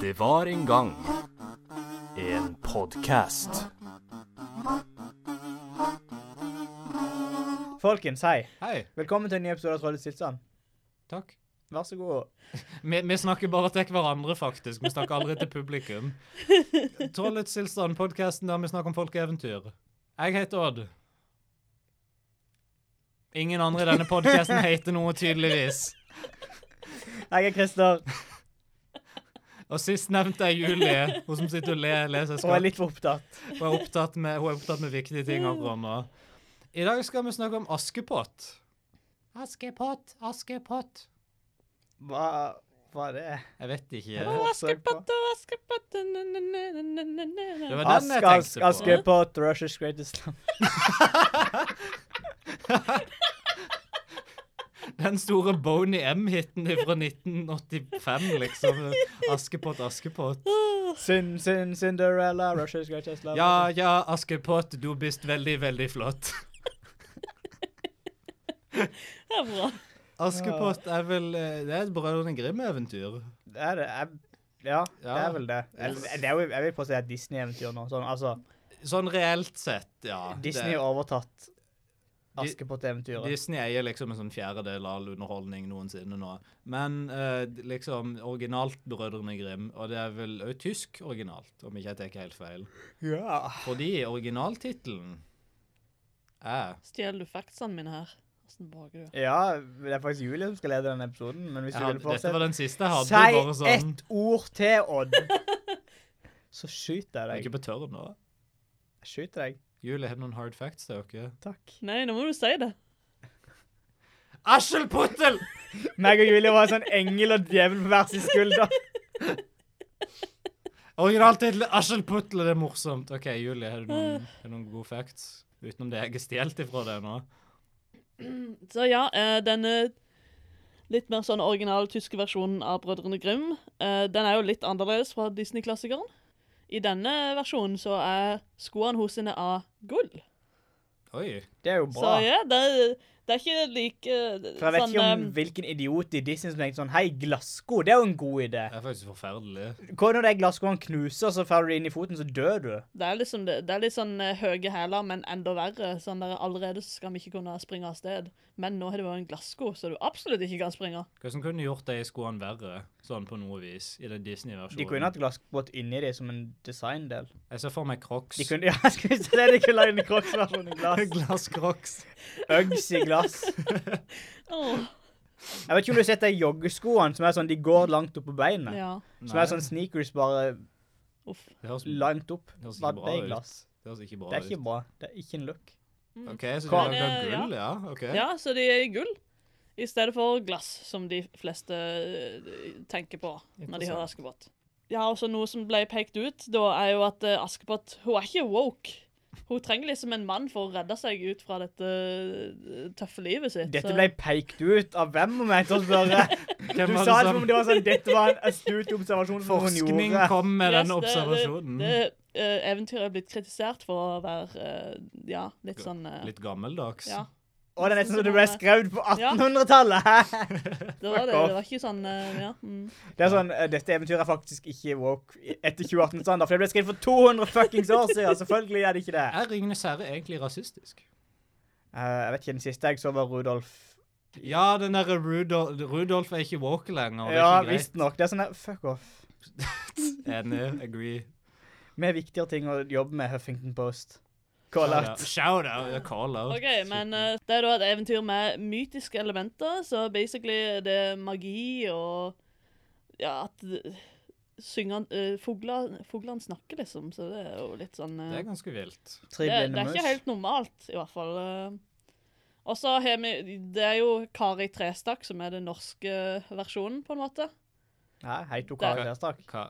Det var en gang en podkast. Folkens, hei. Hei. Velkommen til en ny episode av Trollets tilstand. Takk. Vær så god. Vi, vi snakker bare til hverandre, faktisk. Vi snakker aldri til publikum. Trollets tilstand, podkasten der vi snakker om folkeeventyr. Jeg heter Odd. Ingen andre i denne podkasten heter noe, tydeligvis. Jeg er Christer, Og sist nevnte jeg Julie, hun som sitter og le, leser og er skatt. litt for opptatt. Hun er opptatt med, hun er opptatt med viktige ting akkurat nå. I dag skal vi snakke om Askepott. Askepott, Askepott. Hva var det? Jeg vet ikke. Hva forsøk på? Askepott og Askepott na, na, na, na, na, na, na, na. Det var den Ask, jeg ask, tenkte på. Askepott, Russia's greatest land. Den store Boney M-hiten fra 1985, liksom. Askepott, Askepott. Sin, sin, Cinderella, Russia's greatest land. Ja, ja, Askepott, du bist veldig, veldig flott. Det er bra. Askepott er vel eh, Det er et Brødrene Grim-eventyr. Det er det. Jeg, ja, det Ja. er vel det. Eller, det er jo, jeg vil påstå det er et Disney-eventyr nå. Sånn, altså, Sånn reelt sett, ja. Det- Disney har overtatt Di- Askepott-eventyret. Disney eier liksom en sånn fjerdedel av all underholdning noensinne nå. Men eh, liksom originalt Brødrene Grim, og det er vel òg tysk originalt, om ikke jeg tar helt feil. Ja. Fordi originaltittelen er Stjeler du factsene mine her? Hvordan baker du? ja, det er faktisk Julie som skal lede denne episoden, men hvis Jeg du vil hadde, dette fortsette var den siste jeg hadde. Si bare sånn, ett ord til, Odd! Så skyter Jeg er jeg deg. ikke på tørr nå. Jeg skyter deg. Julie, har du noen hard facts til dere? Takk. Nei, nå må du si det. Askeputtel! Meg og Julie var en sånn engel og djevel på hver sin skulder. Originaltittel Askeputtel, det er morsomt. OK, Julie, har du noen, har du noen gode facts? Utenom det jeg har stjålet ifra deg nå. Så ja, eh, denne litt mer sånn original tyske versjonen av Brødrene Grimm, eh, den er jo litt annerledes fra Disney-klassikeren. I denne versjonen så er skoene hos henne av gull. Oi. Det er jo Så bra. ja, det, er- det er ikke like eh, For jeg vet ikke om em, hvilken idiot i Disney som tenkte sånn Hei, glassko, det er jo en god idé. Det er faktisk forferdelig. Hva når de glasskoene knuser, så faller du inn i foten, så dør du? Det er, liksom, det, det er litt sånn eh, høye hæler, men enda verre. Sånn der, allerede så skal vi ikke kunne springe av sted. Men nå har det vært en glassko, så du absolutt ikke kan springe. Hvordan kunne du gjort de skoene verre, sånn på noe vis, i De den kunne Disney-versjonen? hatt glasskott inni dem som en designdel. Jeg ser for meg Crocs. De kunne, ja, jeg skulle si det, de kunne lagd en kroppsversjon i glass. Glass Crocs. Uggs i glass. Åh, Jeg vet ikke om du har sett de joggeskoene som er sånn, de går langt opp på beinet. ja. Som er sånn sneakers bare Uff. Det høres, det langt opp. høres Bare ikke det bra er ut. glass. Det høres ikke Det bra er ikke ut. bra. Det er ikke en look. OK, så du Hva- har gull, ja? ok. Ja, så de er i gull i stedet for glass, som de fleste eh, tenker på når de hører Askepott. Ja, og så noe som ble pekt ut, da er jo at eh, Askepott Hun er ikke woke. Hun trenger liksom en mann for å redde seg ut fra dette eh, tøffe livet sitt. Dette så- ble peikt ut av hvem, om jeg tør spørre. Du Hvem var sa det som- som om det var sånn, dette var en astut observasjon som hun Forskning gjorde. kom med Yes, den observasjonen. Det, det, det eh, eventyret er blitt kritisert for å være eh, ja, litt sånn eh, Litt gammeldags. Ja, Og det er nesten som det ble skrevet på Ja. 1800-tallet. det var det. off. Det var ikke sånn eh, ja. Mm. Det er sånn, eh, Dette eventyret er faktisk ikke woke etter 2018-standard, for det ble skrevet for 200 fuckings år siden. Selvfølgelig er det ikke det. Er Ringenes herre egentlig rasistisk? Eh, jeg vet ikke, Den siste jeg så, var Rudolf. Ja, den derre Rudolf, Rudolf er ikke woke lenger. og Det er Ja, ikke greit. visstnok. Det er sånn der, fuck off. Enig. Agree. Vi har viktigere ting å jobbe med, Huffington Post. Call Ja, out. Shout out. ja, Call out. OK, men eh, det er da et eventyr med mytiske elementer, så basically er det magi og Ja, at det- synger, eh, fugler, fuglene snakker, liksom, så det er jo litt sånn eh, Det er ganske vilt. Tre det, det blinde er ikke mus. helt normalt, i hvert fall. eh. Og så har vi Det er jo Kari Trestakk som er den norske eh, versjonen, på en måte. Nei, hei, to Det- karakterstak. Hva?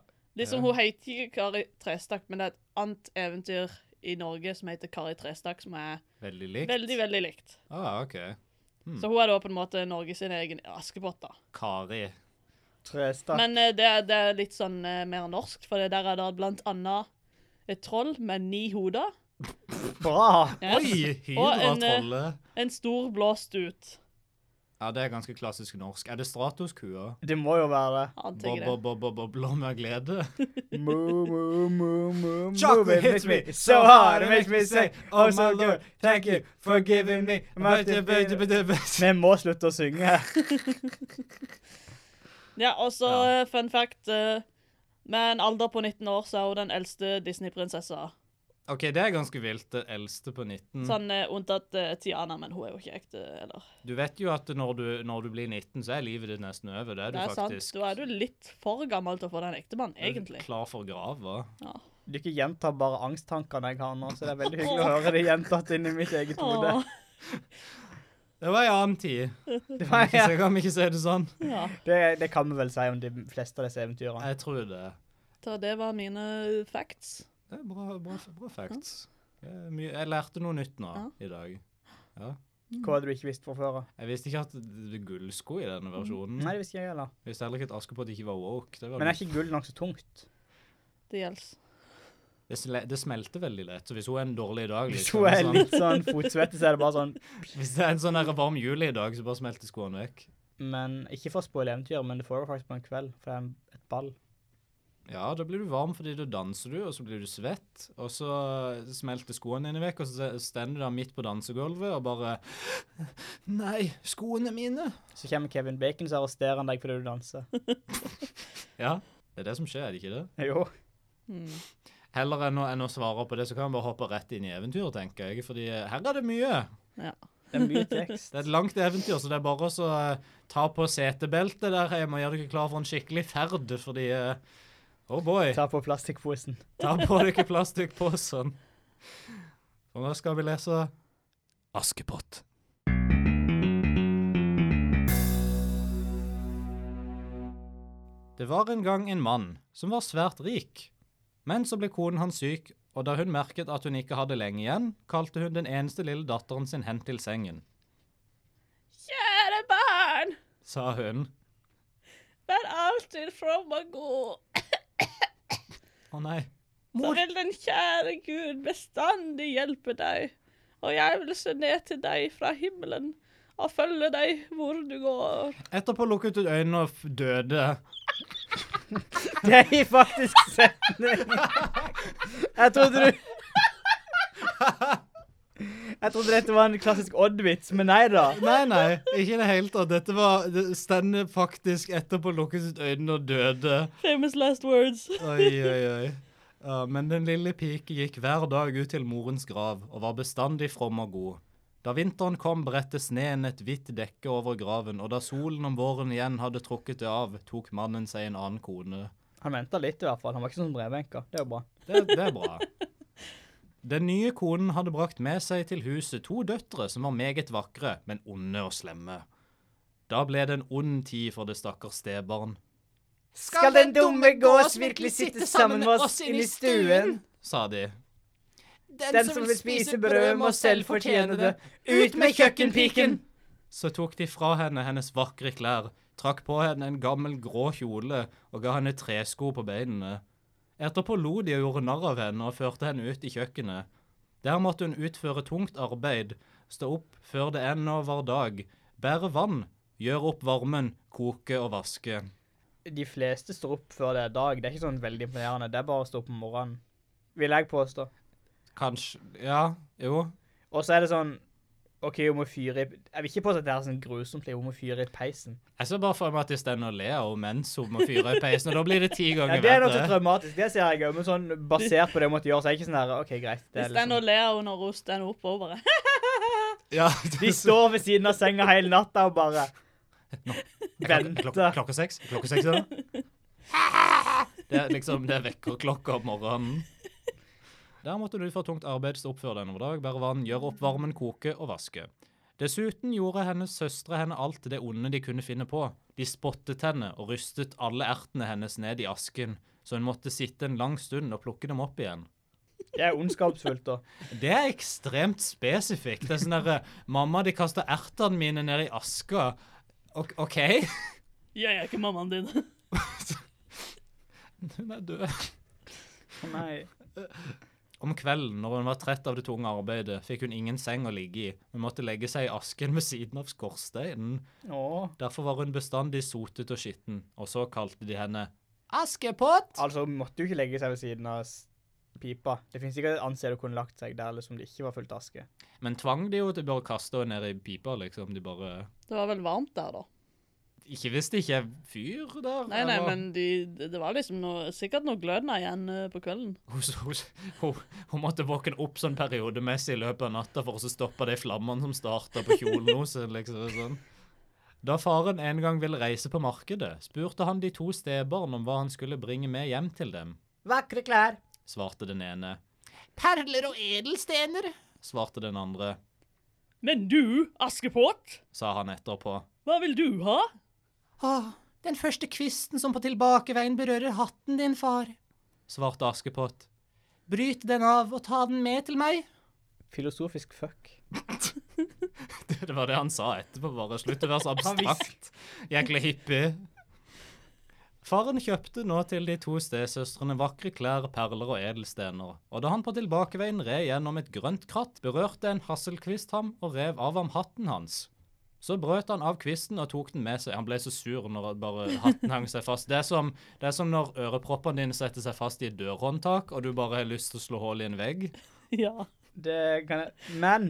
Ja. Liksom, Hun heter ikke Kari Trestakk, men det er et annet eventyr i Norge som heter Kari Trestakk, som er Veldig likt? veldig, veldig likt. Ah, OK. Mm. Så hun er da på en måte Norge sin egen Askepott, da. Kari. Trestak. Men eh, det, er, det er litt sånn eh, mer norsk, for det der er det blant annet et troll med ni hoder. Bra! Yes. Oi! Og en, eh, Hydratrollet. En stor blå stut. Ja, det er ganske klassisk norsk. Er det Stratos-kua? Det må jo være det. Antar jeg det. Blå med glede? Moo, moo, moo, moo, Chocolate moo, it hits me so hard, it makes me say, oh my lord, thank you for giving me my- Vi må slutte å synge. Ja, og så Ja. eh, fun fact. eh, med en alder på 19 år så er hun den eldste Disney-prinsessa. OK, det er ganske vilt. Det eldste på 19. Sånn eh, unntatt eh, Tiana, men hun er jo ikke ekte, eller Du vet jo at når du, når du blir 19, så er livet ditt nesten over. Det er du Det er sant. faktisk. Da er du litt for gammel til å få deg en ektemann, Du er egentlig. Klar for grava. Dere gjentar bare angsttankene jeg har nå, så det er veldig hyggelig å høre det gjentatt inni mitt eget hode. Åh, Det var en annen tid. Det, var, Så jeg kan ikke si det sånn. ja. det, det kan vi vel si om de fleste av disse eventyrene. Jeg tror det. Så det var mine facts. Det er bra, bra, bra facts. Det er mye- Jeg lærte noe nytt nå i dag. Ja. Hva hadde du ikke visst fra før? av? Jeg visste ikke at det er gullsko i denne versjonen. Mm. Nei, det visste ikke jeg heller. Jeg visste heller ikke at Askepott ikke var woke. Det, var Men er ikke gull nokså tungt? Det gjelder. det, sle det smelter veldig lett. Så hvis hun er en dårlig dag Hvis liksom, hun er sånn- litt sånn fotsvette, så er det bare sånn Hvis det er en sånn der varm jul i dag, så bare smelter skoene vekk. Men ikke for å spoile eventyret, men det foregår faktisk på en kveld, for det er en- et ball. Ja, da blir du varm fordi da danser du, og så blir du svett, og så smelter skoene dine vekk, og så stender du der midt på dansegulvet og bare Nei, skoene mine! Så kommer Kevin Bacon, så arresterer han deg fordi du danser. Ja, det er det som skjer, er det ikke det? Jo. Mm. Heller enn å, enn å svare på det, så kan man bare hoppe rett inn i eventyret, tenker jeg, fordi eh, her er det mye. Det er mye tekst. Det er et langt eventyr, så det er bare å så, eh, ta på setebeltet der hjemme og gjøre dere klar for en skikkelig ferd, fordi eh, Oh boy! Ta på plastikkposen. Ta på dere plastikkposen. Og nå skal vi lese Askepott. Det var en gang en mann som var svært rik. Men så ble konen hans syk, og da hun merket at hun ikke hadde lenge igjen, kalte hun den eneste lille datteren sin hen til sengen. Kjære barn, Sa hun, vær alltid from og god. å nei, Så vil den kjære Gud bestandig hjelpe deg. Og jeg vil se ned til deg fra himmelen og følge deg hvor du går. etterpå lukket hun øynene og f- døde. Det er i faktisk setning. Jeg trodde du Jeg trodde dette var en klassisk Odd-vits, men nei da. Nei, nei, ikke i det hele tatt. Dette var det Stenne faktisk etterpå lukket sitt øynene og døde. Famous last words. Oi, oi, oi. Ja, men den lille pike gikk hver dag ut til morens grav og var bestandig from og god. Da vinteren kom, bredte sneen et hvitt dekke over graven, og da solen om våren igjen hadde trukket det av, tok mannen seg en annen kone. Han venta litt, i hvert fall. Han var ikke sånn brevbenker. Det er jo bra. Det, det er bra. Den nye konen hadde brakt med seg til huset to døtre som var meget vakre, men onde og slemme. Da ble det en ond tid for det stakkars stebarn. Skal den dumme gås virkelig sitte sammen med oss inne i stuen? Sa de. Den som vil spise brød, må selv fortjene det. Ut med kjøkkenpiken! Så tok de fra henne hennes vakre klær, trakk på henne en gammel grå kjole og ga henne tresko på beinene. Etterpå lo de og gjorde narr av henne og førte henne ut i kjøkkenet. Der måtte hun utføre tungt arbeid, stå opp før det ennå var dag, bære vann, gjøre opp varmen, koke og vaske. De fleste står opp før det er dag. Det er ikke sånn veldig imponerende. Det er bare å stå opp om morgenen, vil jeg påstå. Kanskje Ja, jo. Og så er det sånn OK, hun må fyre i Jeg vil ikke påstå at det er sånn grusomt, hun må fyre i peisen. Jeg ser bare for meg at de står og ler og mens hun må fyre i peisen, og da blir det ti Ja, ganger Det er nokså verre. traumatisk, det ser jeg òg, men sånn basert på det hun måtte gjøre, så er jeg ikke sånn her OK, greit. Det Hvis er den liksom, og Leo når hun stender opp og bare Ja, de står ved siden av senga hele natta og bare Klokka, venter. klokka seks? Klokka seks, ja. Det er liksom det vekker klokka om morgenen. Der måtte du for tungt arbeid stå opp før denne dag, bære vann, gjøre opp varmen, koke og vaske. Dessuten gjorde hennes søstre henne alt det onde de kunne finne på. De spottet henne og rystet alle ertene hennes ned i asken, så hun måtte sitte en lang stund og plukke dem opp igjen. Det er ondskapsfullt, da. Det er ekstremt spesifikt. Det er sånn derre Mamma, de kasta ertene mine ned i aska. Ok- OK? Jeg er ikke mammaen din. Hun er død. Å, Nei. Om kvelden, når hun var trett av det tunge arbeidet, fikk hun ingen seng å ligge i. Hun måtte legge seg i asken ved siden av skorsteinen. Åh. Derfor var hun bestandig sotet og skitten, og så kalte de henne Askepott! Altså, hun måtte jo ikke legge seg ved siden av s- pipa. Det finnes sikkert et annet sted hun kunne lagt seg der liksom det ikke var fullt aske. Men tvang de jo til bare å kaste henne ned i pipa, liksom. De bare Det var vel varmt der, da. Ikke hvis det ikke er fyr der. Nei, nei, eller- men de, det var liksom noe, sikkert noe glødende igjen eh, på kvelden. Hun, hun, hun, hun måtte våkne opp sånn periodemessig i løpet av natta for å så stoppe de flammene som starta på kjolen hennes. Liksom, sånn. Da faren en gang ville reise på markedet, spurte han de to stebarn om hva han skulle bringe med hjem til dem. Vakre klær. svarte den ene. Perler og edelstener, svarte den andre, Men du, Askepott, sa han etterpå. hva vil du ha? Åh, den første kvisten som på tilbakeveien berører hatten din, far, svarte Askepott. Bryt den av og ta den med til meg. Filosofisk fuck. Det var det han sa etterpå, bare slutt å være så abstrakt. Jækla hippie. Faren kjøpte nå til de to stesøstrene vakre klær, perler og edelstener, og da han på tilbakeveien red gjennom et grønt kratt, berørte en hasselkvist ham og rev av ham hatten hans. Så brøt han av kvisten og tok den med seg. Han ble så sur når bare hatten hang seg fast. Det er som, det er som når øreproppene dine setter seg fast i et dørhåndtak, og du bare har lyst til å slå hull i en vegg. Ja. Det kan jeg Men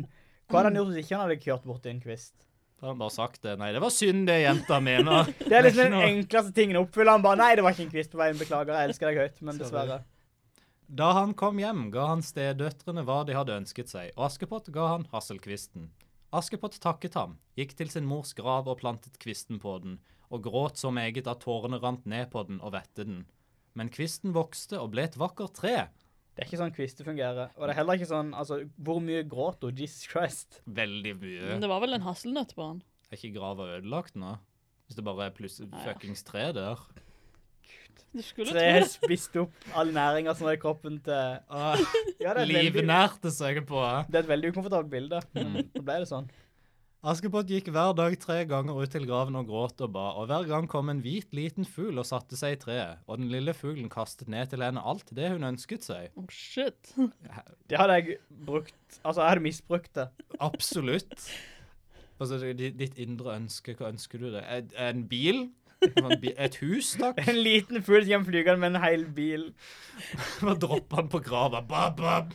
hva hadde han gjort hvis ikke han hadde kjørt borti en kvist? Da har han bare sagt det. Nei, det var synd det jenta mener. Det er liksom ikke den noe- enkleste tingen å oppfylle. Han bare Nei, det var ikke en kvist på veien. Beklager, jeg elsker deg høyt, men Sorry. dessverre. Da han kom hjem, ga han stedøtrene hva de hadde ønsket seg, og Askepott ga han hasselkvisten. Askepott takket ham, gikk til sin mors grav og plantet kvisten på den, og gråt så meget at tårene rant ned på den og vette den. Men kvisten vokste og ble et vakkert tre. Det er ikke sånn kvister fungerer. Og det er heller ikke sånn Altså, hvor mye gråt hun? Jesus Christ. Veldig mye. Men det var vel en hasselnøtt på han. Er ikke grava ødelagt nå? Hvis det bare er plutselig ja. fuckings tre der. Du skulle tro Treet det. spiste opp all næringa som var i kroppen til Ah, Ja, det er, et Livet Mm. veldig, nærte seg på. eh? det er et veldig ukomfortabelt bilde. Men så ble det sånn. Askepott gikk hver dag tre ganger ut til graven og gråt og ba, og hver gang kom en hvit liten fugl og satte seg i treet, og den lille fuglen kastet ned til henne alt det hun ønsket seg. Oh, shit. Det hadde jeg brukt Altså, jeg hadde misbrukt det. Absolutt. Altså, det- di- ditt indre ønske, hva ønsker du deg? En- En bil? En bi- Et hus, takk? En liten fugl som kommer flygende med en hel bil. Og droppe han på grava. Bab, bab.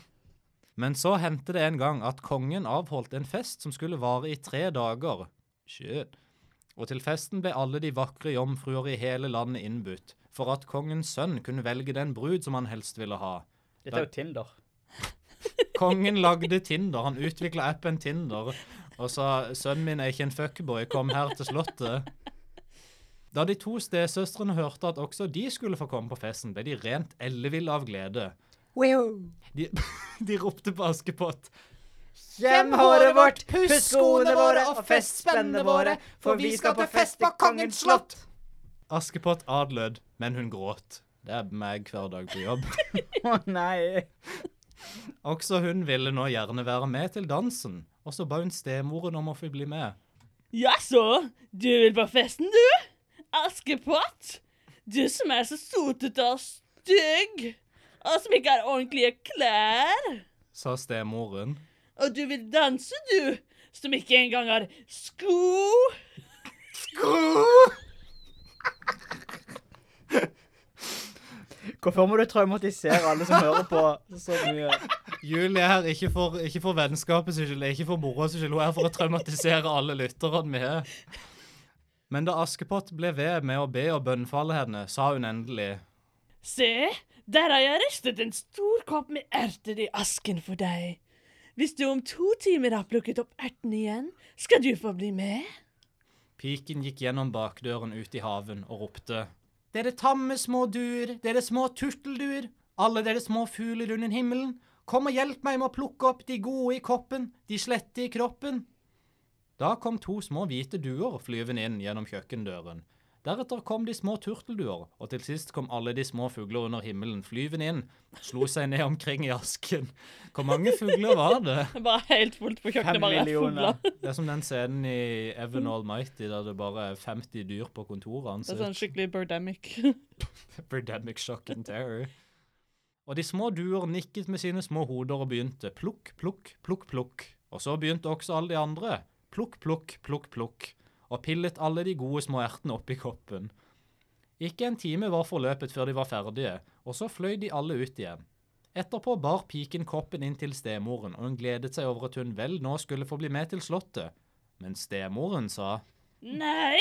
Men så hendte det en gang at kongen avholdt en fest som skulle vare i tre dager. Shit. Og til festen ble alle de vakre jomfruer i hele landet innbudt, for at kongens sønn kunne velge den brud som han helst ville ha. Dette er jo Tinder. Kongen lagde Tinder, han utvikla appen Tinder og sa 'sønnen min er ikke en fuckboy, kom her til slottet'. Da de to stesøstrene hørte at også de skulle få komme på festen, ble de rent elleville av glede. De, de ropte på Askepott. Gjem håret vårt, puss skoene våre og fest spennene våre, for vi skal til fest på Kongens slott. Askepott adlød, men hun gråt. Det er meg hver dag på jobb. Å nei. Også hun ville nå gjerne være med til dansen, og så ba hun stemoren om å få bli med. Jaså, du vil på festen, du? Askepott? Du som er så sotete og stygg, og som ikke har ordentlige klær. Sa stemoren. Og du vil danse, du, som ikke engang har sko. Hvorfor må du traumatisere alle som hører på så mye? Julie er her ikke for, ikke for vennskapet sin skyld, ikke for moroa sin skyld. Hun er her for å traumatisere alle lytterne vi har. Men da Askepott ble ved med å be og bønnfalle henne, sa hun endelig Se, der har jeg ristet en stor kopp med erter i asken for deg. Hvis du om to timer har plukket opp ertene igjen, skal du få bli med. Piken gikk gjennom bakdøren ut i haven og ropte. Dere tamme små duer, dere små turtelduer, alle dere små fugler under himmelen, kom og hjelp meg med å plukke opp de gode i koppen, de slette i kroppen. Da kom to små hvite duer flyvende inn gjennom kjøkkendøren. Deretter kom de små turtelduer, og til sist kom alle de små fugler under himmelen flyvende inn, slo seg ned omkring i asken. Hvor mange fugler var det? Bare helt fullt på Fem millioner. Det er som den scenen i Evan Almighty der det bare er 50 dyr på sånn kontoret hans. skikkelig birdemic. Epidemic shock and terror. Og de små duer nikket med sine små hoder og begynte plukk, plukk, plukk, plukk. Og så begynte også alle de andre plukk, plukk, plukk, plukk, og pillet alle de gode små ertene oppi koppen. Ikke en time var forløpet før de var ferdige, og så fløy de alle ut igjen. Etterpå bar piken koppen inn til stemoren, og hun gledet seg over at hun vel nå skulle få bli med til slottet. Men stemoren sa Nei,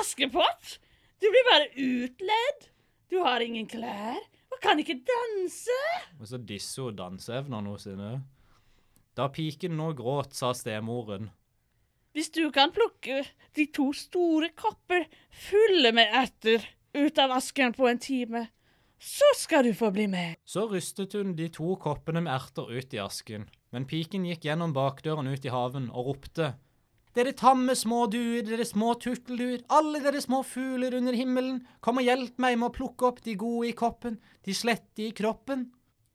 Askepott! Du blir bare utledd. Du har ingen klær og kan ikke danse. Og så disse hun danseevnene hos sine. Da piken nå gråt, sa stemoren. Hvis du kan plukke de to store kopper fulle med erter ut av asken på en time, så skal du få bli med. Så rystet hun de to koppene med erter ut i asken, men piken gikk gjennom bakdøren ut i haven og ropte. Dere tamme små duer, dere små turtelduer, alle dere små fugler under himmelen, kom og hjelp meg med å plukke opp de gode i koppen, de slette i kroppen.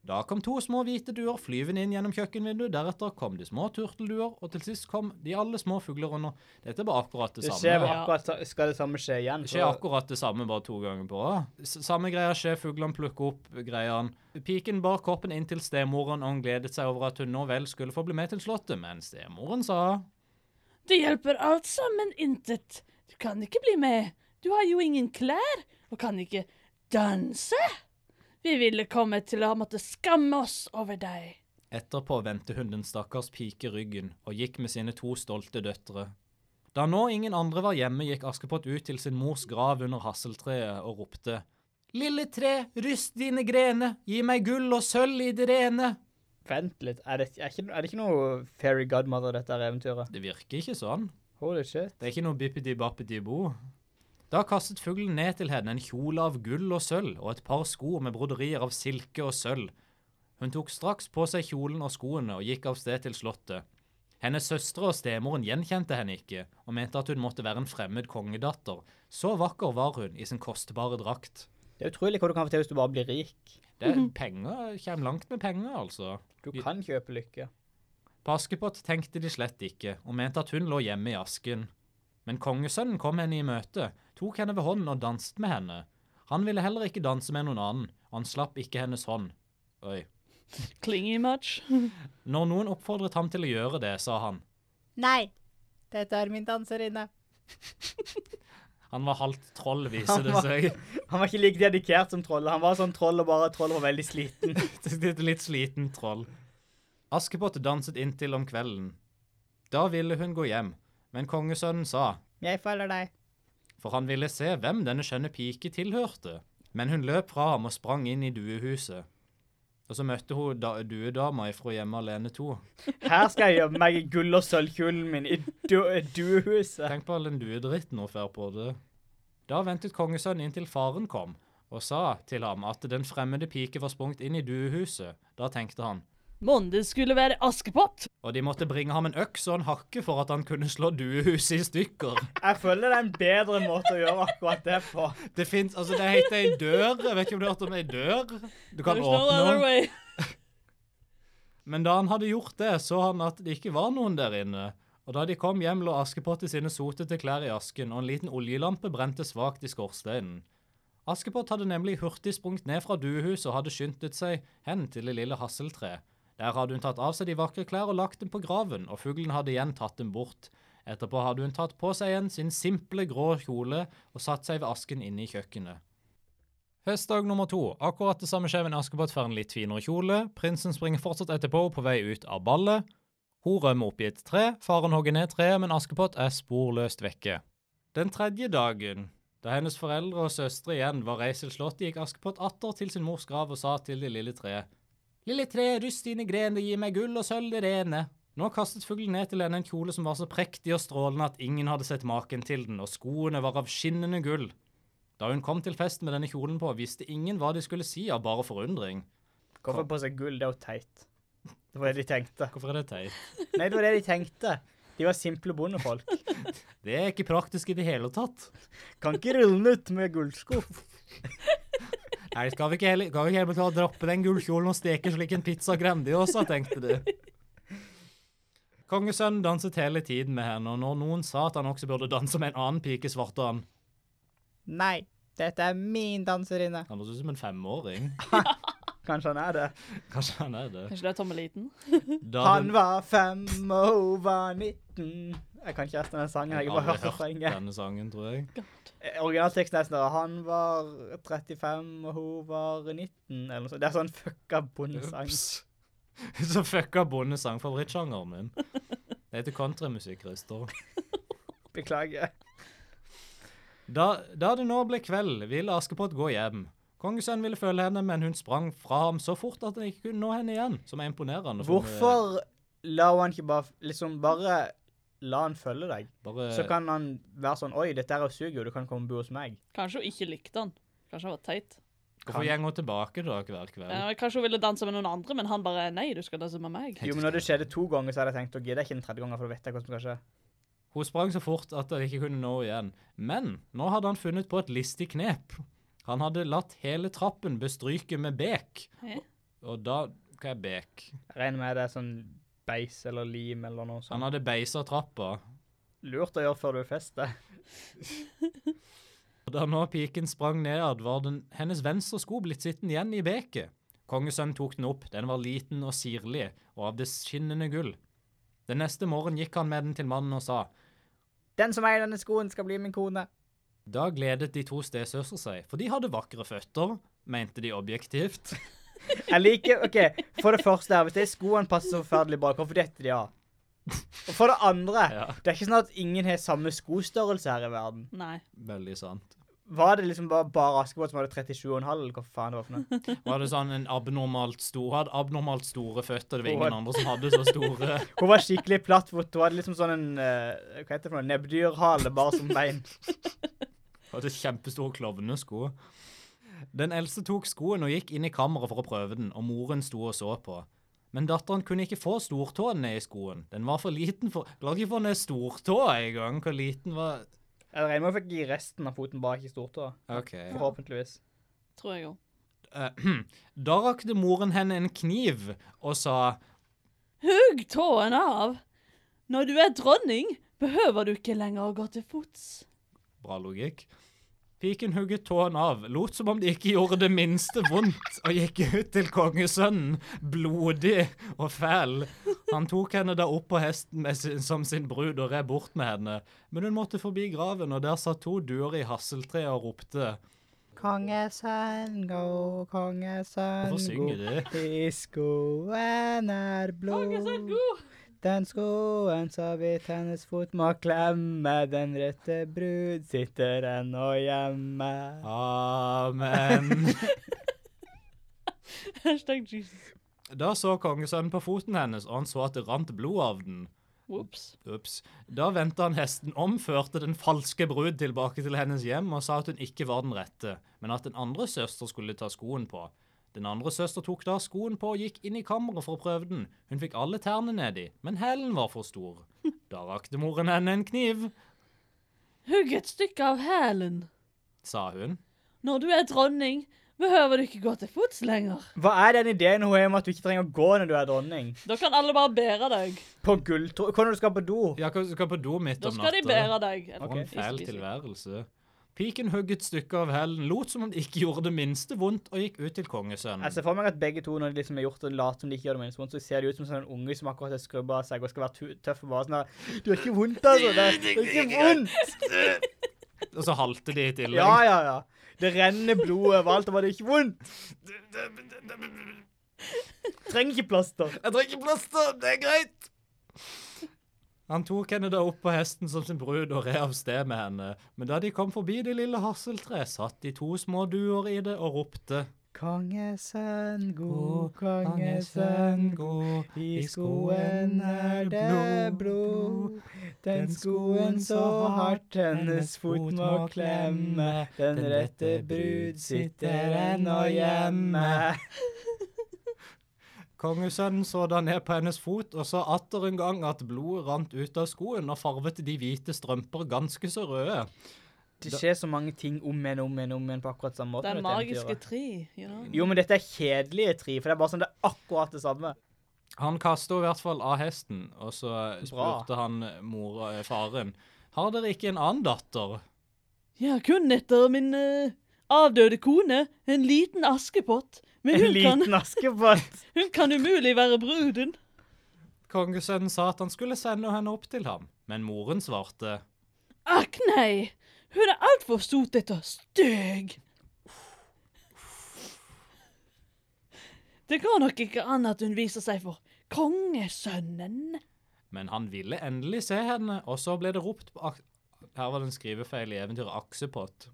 Da kom to små hvite duer flyvende inn gjennom kjøkkenvinduet, deretter kom de små turtelduer, og til sist kom de alle små fugler under. Dette var akkurat det Det samme. skjer Ja. akkurat, sa- skal det samme skje igjen. Det skjer akkurat det samme, bare to ganger på rad. S- Samme greia skjer, fuglene plukker opp greiene. Piken bar koppen inn til stemoren, og hun gledet seg over at hun nå vel skulle få bli med til slottet, men stemoren sa Det hjelper alt sammen intet. Du kan ikke bli med. Du har jo ingen klær og kan ikke danse. Vi ville komme til å måtte skamme oss over deg. Etterpå vendte hun den stakkars pike ryggen og gikk med sine to stolte døtre. Da nå ingen andre var hjemme, gikk Askepott ut til sin mors grav under hasseltreet og ropte Lille tre, ryst dine grene, gi meg gull og sølv i det rene. Vent litt, er det, er, ikke, er det ikke noe fairy godmother, dette her eventyret? Det virker ikke sånn. Holy shit. Det er ikke noe bippidi-bappidi-bo. Da kastet fuglen ned til henne en kjole av gull og sølv og et par sko med broderier av silke og sølv. Hun tok straks på seg kjolen og skoene og gikk av sted til slottet. Hennes søstre og stemoren gjenkjente henne ikke og mente at hun måtte være en fremmed kongedatter. Så vakker var hun i sin kostbare drakt. Det er utrolig hva du kan få til hvis du bare blir rik. Det er penger, kommer langt med penger, altså. Du kan kjøpe lykke. På Askepott tenkte de slett ikke, og mente at hun lå hjemme i asken. Men kongesønnen kom henne i møte, tok henne ved hånden og danset med henne. Han ville heller ikke danse med noen annen, og han slapp ikke hennes hånd. Oi. Klingy much. Når noen oppfordret ham til å gjøre det, sa han. Nei, dette er min danserinne. Han var halvt troll, viser det seg. Han var ikke like dedikert som trollet. Han var sånn troll og bare troll var veldig sliten. Et litt sliten troll. Askepott danset inntil om kvelden. Da ville hun gå hjem, men kongesønnen sa Jeg følger deg. for han ville se hvem denne skjønne pike tilhørte. Men hun løp fra ham og sprang inn i duehuset. Og så møtte hun da, duedama fra Hjemme alene 2. Her skal jeg gjemme meg i gull- og sølvkjolen min i du duehuset. Tenk på all den duedritten hun får på det. Da ventet kongesønnen inntil faren kom, og sa til ham at den fremmede pike var sprunget inn i duehuset. Da tenkte han, Mon det skulle være Askepott. og de måtte bringe ham en øks og en hakke for at han kunne slå duehuset i stykker. Jeg føler det er en bedre måte å gjøre akkurat det på. Det fins Altså, det heter ei dør. Jeg vet ikke om du har hørt om ei dør? Du kan There's no åpne other den. way. Men da han hadde gjort det, så han at det ikke var noen der inne. Og da de kom hjem, lå Askepott i sine sotete klær i asken, og en liten oljelampe brente svakt i skorsteinen. Askepott hadde nemlig hurtig sprunget ned fra duehuset og hadde skyndet seg hen til det lille hasseltreet. Der hadde hun tatt av seg de vakre klær og lagt dem på graven, og fuglen hadde igjen tatt dem bort. Etterpå hadde hun tatt på seg igjen sin simple, grå kjole og satt seg ved asken inne i kjøkkenet. Festdag nummer to. Akkurat det samme skjer, men Askepott får en litt finere kjole. Prinsen springer fortsatt etterpå på vei ut av ballet. Hun rømmer opp i et tre. Faren hogger ned treet, men Askepott er sporløst vekke. Den tredje dagen, da hennes foreldre og søstre igjen var reist til slottet, gikk Askepott atter til sin mors grav og sa til det lille treet. Lille tre, ryst dine grener, gi meg gull og sølv det rene. Nå kastet fuglen ned til henne en kjole som var så prektig og strålende at ingen hadde sett maken til den, og skoene var av skinnende gull. Da hun kom til festen med denne kjolen på, visste ingen hva de skulle si av bare forundring. Hvorfor på seg gull? Det er jo teit. Det var det de tenkte. Hvorfor er det teit? Nei, det var det de tenkte. De var simple bondefolk. Det er ikke praktisk i det hele tatt. Kan ikke rulle ut med gullsko. Nei, skal vi ikke heller, skal vi ikke heller ta og droppe den gullkjolen og steke slik en pizza grandiosa, tenkte de. Kongesønnen danset hele tiden med henne, og når noen sa at han også burde danse med en annen pike, svarte han. Nei, dette er min danserinne. Han høres ut som en femåring. Kanskje han er det. Kanskje han er det. Kanskje det er tommeliten? Da Han var fem, og hun var 19. Jeg kan ikke resten av den sangen. Jeg har bare hørt refrenget. denne sangen, tror jeg. Eh, Originalteksten er sånn Han var 35, og hun var 19, eller noe sånt. Det er sånn fucka bondesang. Ups. Så fucka bondesang favorittsjangeren min. Det heter countrymusikk, Christer. Beklager. Da, da det nå ble kveld, ville Askepott gå hjem. Kongesønnen ville følge henne, men hun sprang fra ham så fort at han ikke kunne nå henne igjen. Som er imponerende. for hun er Hvorfor la hun ikke bare Liksom, bare la han følge deg. Bare, Så kan han være sånn Oi, dette her suger jo, du kan komme og bo hos meg. Kanskje hun ikke likte han. Kanskje han var teit. Hvorfor går hun tilbake da hver kveld? Eh, Kanskje hun ville danse med noen andre, men han bare Nei, du skal danse med meg. Jo, men når det skjedde to ganger, så hadde jeg tenkt å gidde ikke den tredje gangen, for da vet jeg hva som skal skje. Hun sprang så fort at han ikke kunne nå igjen. Men nå hadde han funnet på et listig knep. Han hadde latt hele trappen bestryke med bek. Hæ? Og da Hva er bek? Jeg regner med det er sånn beis eller lim eller noe Han sånt. hadde beisa trappa. Lurt å gjøre før du fester. Og da nå piken sprang nedad, var den, hennes venstre sko blitt sittende igjen i beket. Kongesønnen tok den opp, den var liten og sirlig, og av det skinnende gull. Den neste morgen gikk han med den til mannen og sa, Den som eier denne skoen, skal bli min kone. Da gledet de to stesøstre seg, for de hadde vakre føtter, mente de objektivt. Jeg liker OK, for det første her, hvis de skoene passer så forferdelig bra, hvorfor detter de av? Og for det andre, Ja. det er ikke sånn at ingen har samme skostørrelse her i verden. Nei. Veldig sant. Var det liksom bare, bare Askepott som hadde 37,5, eller hva faen det var for noe? Var det sånn en abnormalt stor, hadde abnormalt store føtter, det var Hår. ingen andre som hadde så store. Hun var skikkelig plattfot. Hun hadde liksom sånn en eh, Hva heter det for noe? Nebbdyrhale bare som bein. Hadde kjempestore klovnesko. Den eldste tok skoen og gikk inn i kammeret for å prøve den, og moren sto og så på. Men datteren kunne ikke få stortåen ned i skoen. Den var for liten for La ikke få ned stortåa engang. Hvor liten var Jeg regner med hun fikk gi resten av foten bak i stortåa. OK. Forhåpentligvis. Tror jeg òg. Eh, Da rakte moren henne en kniv og sa Hugg tåen av! Når du er dronning, behøver du ikke lenger å gå til fots. Bra logikk. Piken hugget tåen av, lot som om det ikke gjorde det minste vondt, og gikk ut til kongesønnen, blodig og fæl. Han tok henne da opp på hesten med sin, som sin brud og red bort med henne, men hun måtte forbi graven, og der satt to duer i hasseltreet og ropte. Kongesønn, go, kongesønn, Hvorfor synger de? I skoen er blod. Den skoen så vidt hennes fot må klemme, den rette brud sitter ennå hjemme. Amen. Hashtag Jesus. Da så kongesønnen på foten hennes, og han så at det rant blod av den. Ops. Ups. Da vendte han hesten om, førte den falske brud tilbake til hennes hjem og sa at hun ikke var den rette, men at den andre søster skulle ta skoen på. Den andre søster tok da skoen på og gikk inn i kammeret for å prøve den. Hun fikk alle tærne nedi, men hælen var for stor. Da rakte moren henne en kniv, Hugg et stykke av hælen. sa hun. Når du er dronning, behøver du ikke gå til fots lenger. Hva er den ideen hun har om at du ikke trenger å gå når du er dronning? Da kan alle bare bære deg. På gulltro... Hva når du skal på do? Ja, hva skal på do midt Da om skal de natta? bære deg. Ok. For en fæl Spise, spise. tilværelse. Piken hugg et stykke av hælen, lot som om det ikke gjorde det minste vondt, og gikk ut til kongesønnen. Jeg ser for meg at begge to, når de liksom har gjort det, later som de ikke gjør det minst vondt, så ser de ut som sånn en unge som akkurat har skrubba av seg og skal være tu- tøff og bare sånn her Du har ikke vondt, altså. Det er, det er ikke vondt. Og så halte de i tillegg. Ja, ja, ja. Det renner blod overalt, og bare det er ikke vondt. Trenger ikke plaster. Jeg trenger plaster, det er greit. Han tok henne da opp på hesten som sin brud og red av sted med henne. Men da de kom forbi det lille hasseltreet, satt de to små duer i det og ropte. Kongesønn, God kongesønn, gå, i skoen er det blod. Den skoen så hardt hennes fot må klemme. Den rette brud sitter ennå hjemme. Kongesønnen så da ned på hennes fot og så atter en gang at blodet rant ut av skoen og farvet de hvite strømper ganske så røde. Det skjer så mange ting om igjen, om igjen, om igjen på akkurat samme måte. Den med dette magiske eventyret. tre, you know. Jo, men dette er kjedelige tri, for det er bare sånn det er akkurat det samme. Han kasta i hvert fall av hesten, og så spurte Bra. han mora, eh, faren har dere ikke en annen datter. Ja, kun etter min eh, avdøde kone, en liten askepott, Men En hun kan, liten askepott. hun kan umulig være bruden. Kongesønnen sa at han skulle sende henne opp til ham, men moren svarte. Akk nei, hun er altfor sotete og stygg. Det går nok ikke an at hun viser seg for kongesønnen. Men han ville endelig se henne, og så ble det ropt på ak Her var det en skrivefeil i eventyret Aksepott.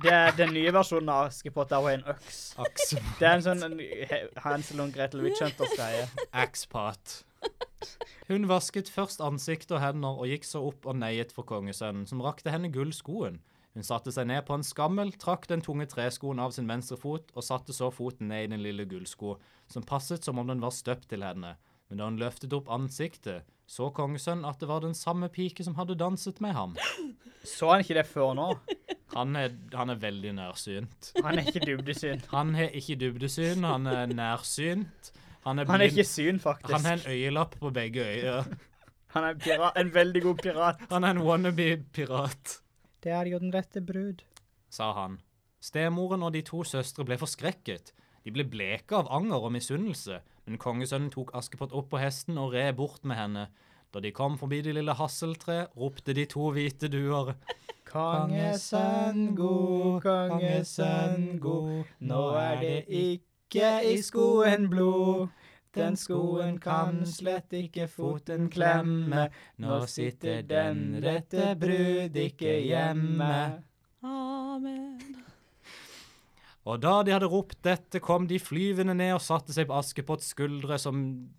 Det er den nye versjonen av Askepott der hun er en øks. Aksepott. Det er en sånn en, he- Hansel og Gretel Witchhunters-greie. Axpot. Hun vasket først ansikt og hender og gikk så opp og neiet for kongesønnen, som rakte henne gullskoen. Hun satte seg ned på en skammel, trakk den tunge treskoen av sin venstre fot og satte så foten ned i den lille gullsko, som passet som om den var støpt til henne. Men da hun løftet opp ansiktet, så kongesønnen at det var den samme pike som hadde danset med ham. Så han ikke det før nå? Han er, han er veldig nærsynt. Han er ikke dybdesyn. Han har ikke dybdesyn, han er nærsynt. Han er, Han er blind. ikke syn, faktisk. han har en øyelapp på begge øyer. Han er pira- en veldig god pirat. Han er en wannabe-pirat, Det er jo den rette brud. sa han. Stemoren og de to søstre ble forskrekket. De ble bleke av anger og misunnelse, men kongesønnen tok Askepott opp på hesten og red bort med henne. Da de kom forbi det lille hasseltreet, ropte de to hvite duer. Kongesønn god, kongesønn god, nå er det ikke i skoen blod. Den skoen kan slett ikke foten klemme, nå sitter den rette brud ikke hjemme. Amen. Og da de hadde ropt dette, kom de flyvende ned og satte seg på Askepotts skuldre som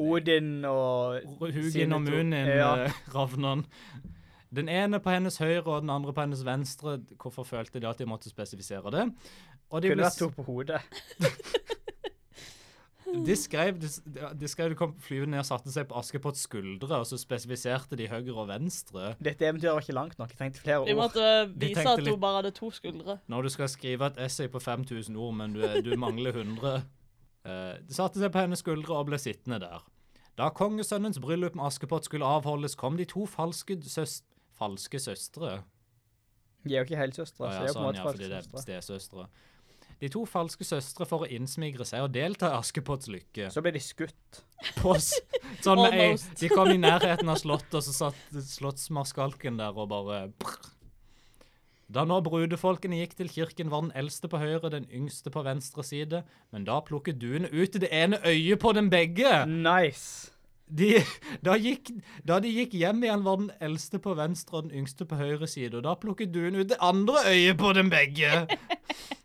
Odin og Hugin Sine og to- Munin ja. eh, Ravnan. Den ene på hennes høyre og den andre på hennes venstre. Hvorfor følte de at de måtte spesifisere det? Og de, Kunne ble, vært to på hodet. de skrev de, s- de skrev de kom flyvende ned og satte seg på Askepotts skuldre, og så spesifiserte de høyre og venstre. Dette eventyret var ikke langt nok. Jeg trengte flere Vi ord. måtte De vise tenkte at hun litt- bare hadde to skuldre. Når du skal skrive et essay på 5000 ord, men du, er- du mangler 100 Eh, De satte seg på hennes skuldre og ble sittende der. Da kongesønnens bryllup med Askepott skulle avholdes, kom de to falske søs... Falske søstre? De er jo ikke helsøstre. Å så ja, det er jo på en sånn, måte ja, fordi det falske er søstre. stesøstre. De to falske søstre for å innsmigre seg og delta i Askepotts lykke. Så ble de skutt. På s- sånn med ei, Almost. de kom i nærheten av slottet, og så satt slottsmarskalken der og bare brr. Da nå brudefolkene gikk til kirken, var den eldste på høyre, den yngste på venstre side, men da plukket duene ut det ene øyet på dem begge. Nice. De, da, gikk, da de gikk hjem igjen, var den eldste på venstre og den yngste på høyre side, og da plukket duen ut det andre øyet på dem begge.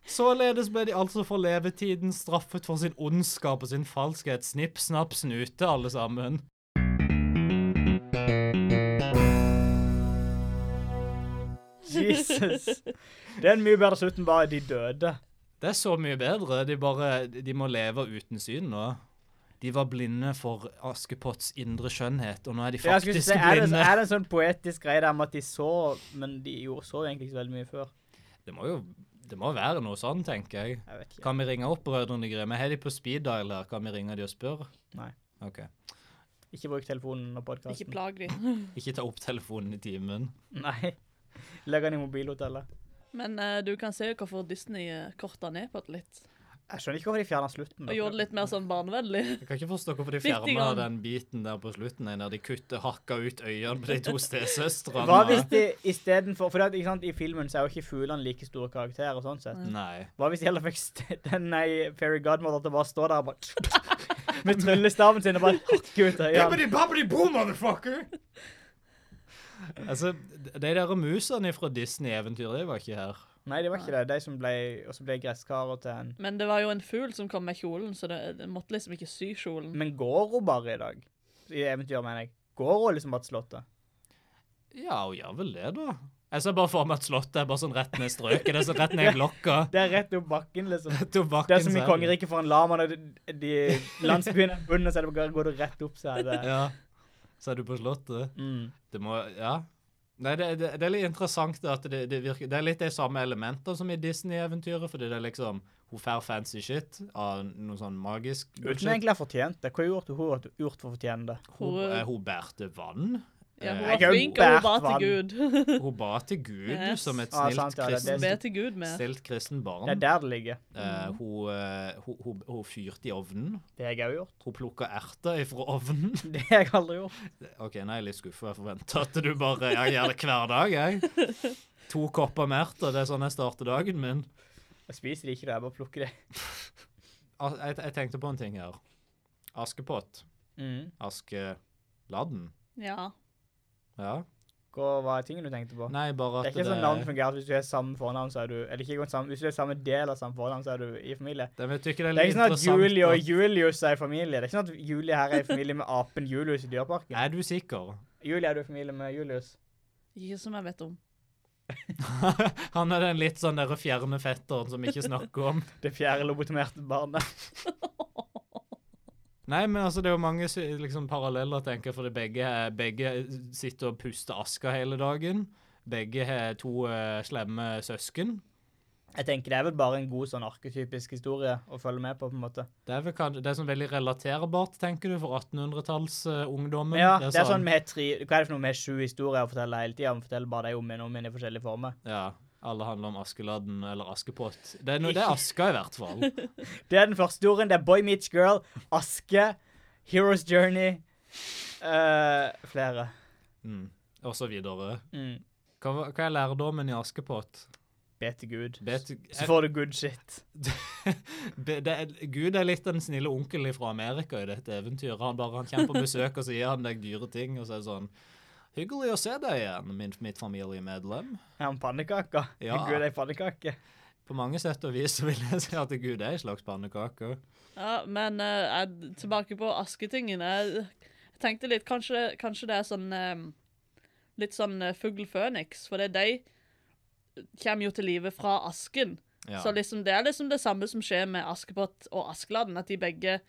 Således ble de altså for levetiden straffet for sin ondskap og sin falskhet. Snipp, snapp, snute, alle sammen. Jesus. Det er en mye bedre slutt enn bare de døde. Det er så mye bedre. De bare De må leve uten syn nå. De var blinde for Askepotts indre skjønnhet, og nå er de Ja, jeg skulle faktisk si, er, det, blinde. er det en sånn poetisk greie der med at de så, men de gjorde så egentlig ikke så veldig mye før? Det må jo Det må være noe sånn, tenker jeg. Jeg vet ikke. Kan vi ringe opp brødrene Grimme? Har de på speed dial her? Kan vi ringe de og spørre? Nei. Ok. Ikke bruk telefonen under Ikke podkasten. plag de. Ikke ta opp telefonen i timen. Nei. Legg den i mobilhotellet. Men eh, du kan se hvorfor Disney eh, korta ned på det litt. Jeg skjønner ikke hvorfor de fjerna slutten. Og gjorde det litt mer sånn barnevennlig. Jeg kan ikke forstå hvorfor de Bitte fjerna grann. den biten der på slutten, der de kutter hakka ut øynene på de to stesøstrene. Hva hvis de istedenfor For det, at, ikke sant, i filmen så er jo ikke fuglene like store karakterer. og sånn sett. Nei. Hva hvis de heller fikk st- den nei, Fairy Godmother til å bare stå der og bare Med tryllestaven sin og bare hakke ut øynene? boo, motherfucker! altså, de der musene fra Disney-eventyret, de var ikke her. Nei, det var ikke det. De som ble, og så ble gresskarer til en Men det var jo en fugl som kom med kjolen, så det, det måtte liksom ikke sy kjolen. Men går hun bare i dag? I eventyret, mener jeg. Går hun liksom bare til Slottet? Ja, og gjør vel det, da. Jeg ser bare for meg at slottet er bare sånn rett ned strøket. Det er sånn rett ned i blokka. Det er rett opp bakken, liksom. Det Det er som i kongeriket for en lama. når de- de Landsbyen er bunnen, så er det bare, går du rett opp. Så er det. Ja. Så er du på slottet. Mm. Det må Ja. Nei, det, det, det er litt interessant det at det, det virker Det er litt de samme elementer som i Disney-eventyret, fordi det er liksom Hun får fancy shit av noe sånn magisk Uten egentlig å ha fortjent det. Hva gjorde hun at hun gjort for å fortjene det? Hun, eh, hun bærte vann. Ja, hun Eh, jeg var har jo flink, og hun ba båret til Gud. Hun ba til Gud Yes. som et Ah, snilt, sant, ja, det er kristen, Be til Gud med. snilt kristen barn. Det er der det ligger. Eh, hun, eh, hun, hun, hun fyrte i ovnen. Det har jeg òg gjort. Hun plukka erter ifra ovnen. Det har jeg aldri gjort. OK, nå er jeg litt skuffa. Jeg forventa at du bare Jeg gjør det hver dag, jeg. To kopper med erter. Det er sånn jeg starter dagen min. Jeg spiser det ikke, da. Jeg bare plukker det. Al- Jeg, jeg tenkte på en ting her. Askepott. Mm. Askeladden. Ja. Ja. Hva var tingen du tenkte på? Nei, bare Det at er ikke sånn navn fungerer. Hvis du har samme fornavn, så er du Eller ikke samme, hvis du har samme del av samme fornavn, så er du i familie. Det, jeg tykker Det er det er litt ikke sånn at interessant. Julie og at- Julius er i familie. Det er ikke sånn at Julie her er i familie med apen Julius i Dyreparken. Er du sikker? Julie er du i familie med Julius. Ikke som jeg vet om. Han er den litt sånn der fjerne fetteren som vi ikke snakker om. Det fjerde lobotomerte barnet. Nei, men altså, det er jo mange sy- liksom, paralleller, tenker jeg, fordi begge, begge sitter og puster aska hele dagen. Begge har to eh, slemme søsken. Jeg tenker det er vel bare en god sånn arketypisk historie å følge med på, på en måte. Det er, vel, kan- det er sånn veldig relaterbart, tenker du, for 1800-tallsungdommen. Men ja, det er sånn vi har tre Hva er det for noe vi har sju historier å fortelle hele tida? Vi forteller bare dem om igjen og om igjen i forskjellige former. Ja, alle handler om Askeladden eller Askepott. Det er, noe, det er aska i hvert fall. Det er den første historien. Det er Boy Meets Girl, Aske, Hero's Journey eh, Flere. Mm. Og så videre. Mm. Hva, var- hva er lærdommen i Askepott? Be til Gud. Bet, Så får du good shit. Be- det er, Gud er litt den snille onkelen fra Amerika i dette eventyret. Han bare han kommer på besøk, og så gir han deg dyre ting, og så er det sånn Hyggelig å se deg igjen, min, mitt familiemedlem. Er han pannekaka? Ja. Gud er en pannekake. På mange sett og vis så vil jeg si at Gud er en slags pannekake. Ja, men eh, jeg, tilbake på asketingen. Jeg, jeg tenkte litt, kanskje, kanskje det er sånn eh, litt sånn eh, fugl føniks, for det er de eh, kommer jo til live fra asken. Ja. Så liksom, det er liksom det samme som skjer med Askepott og Askeladden, at de begge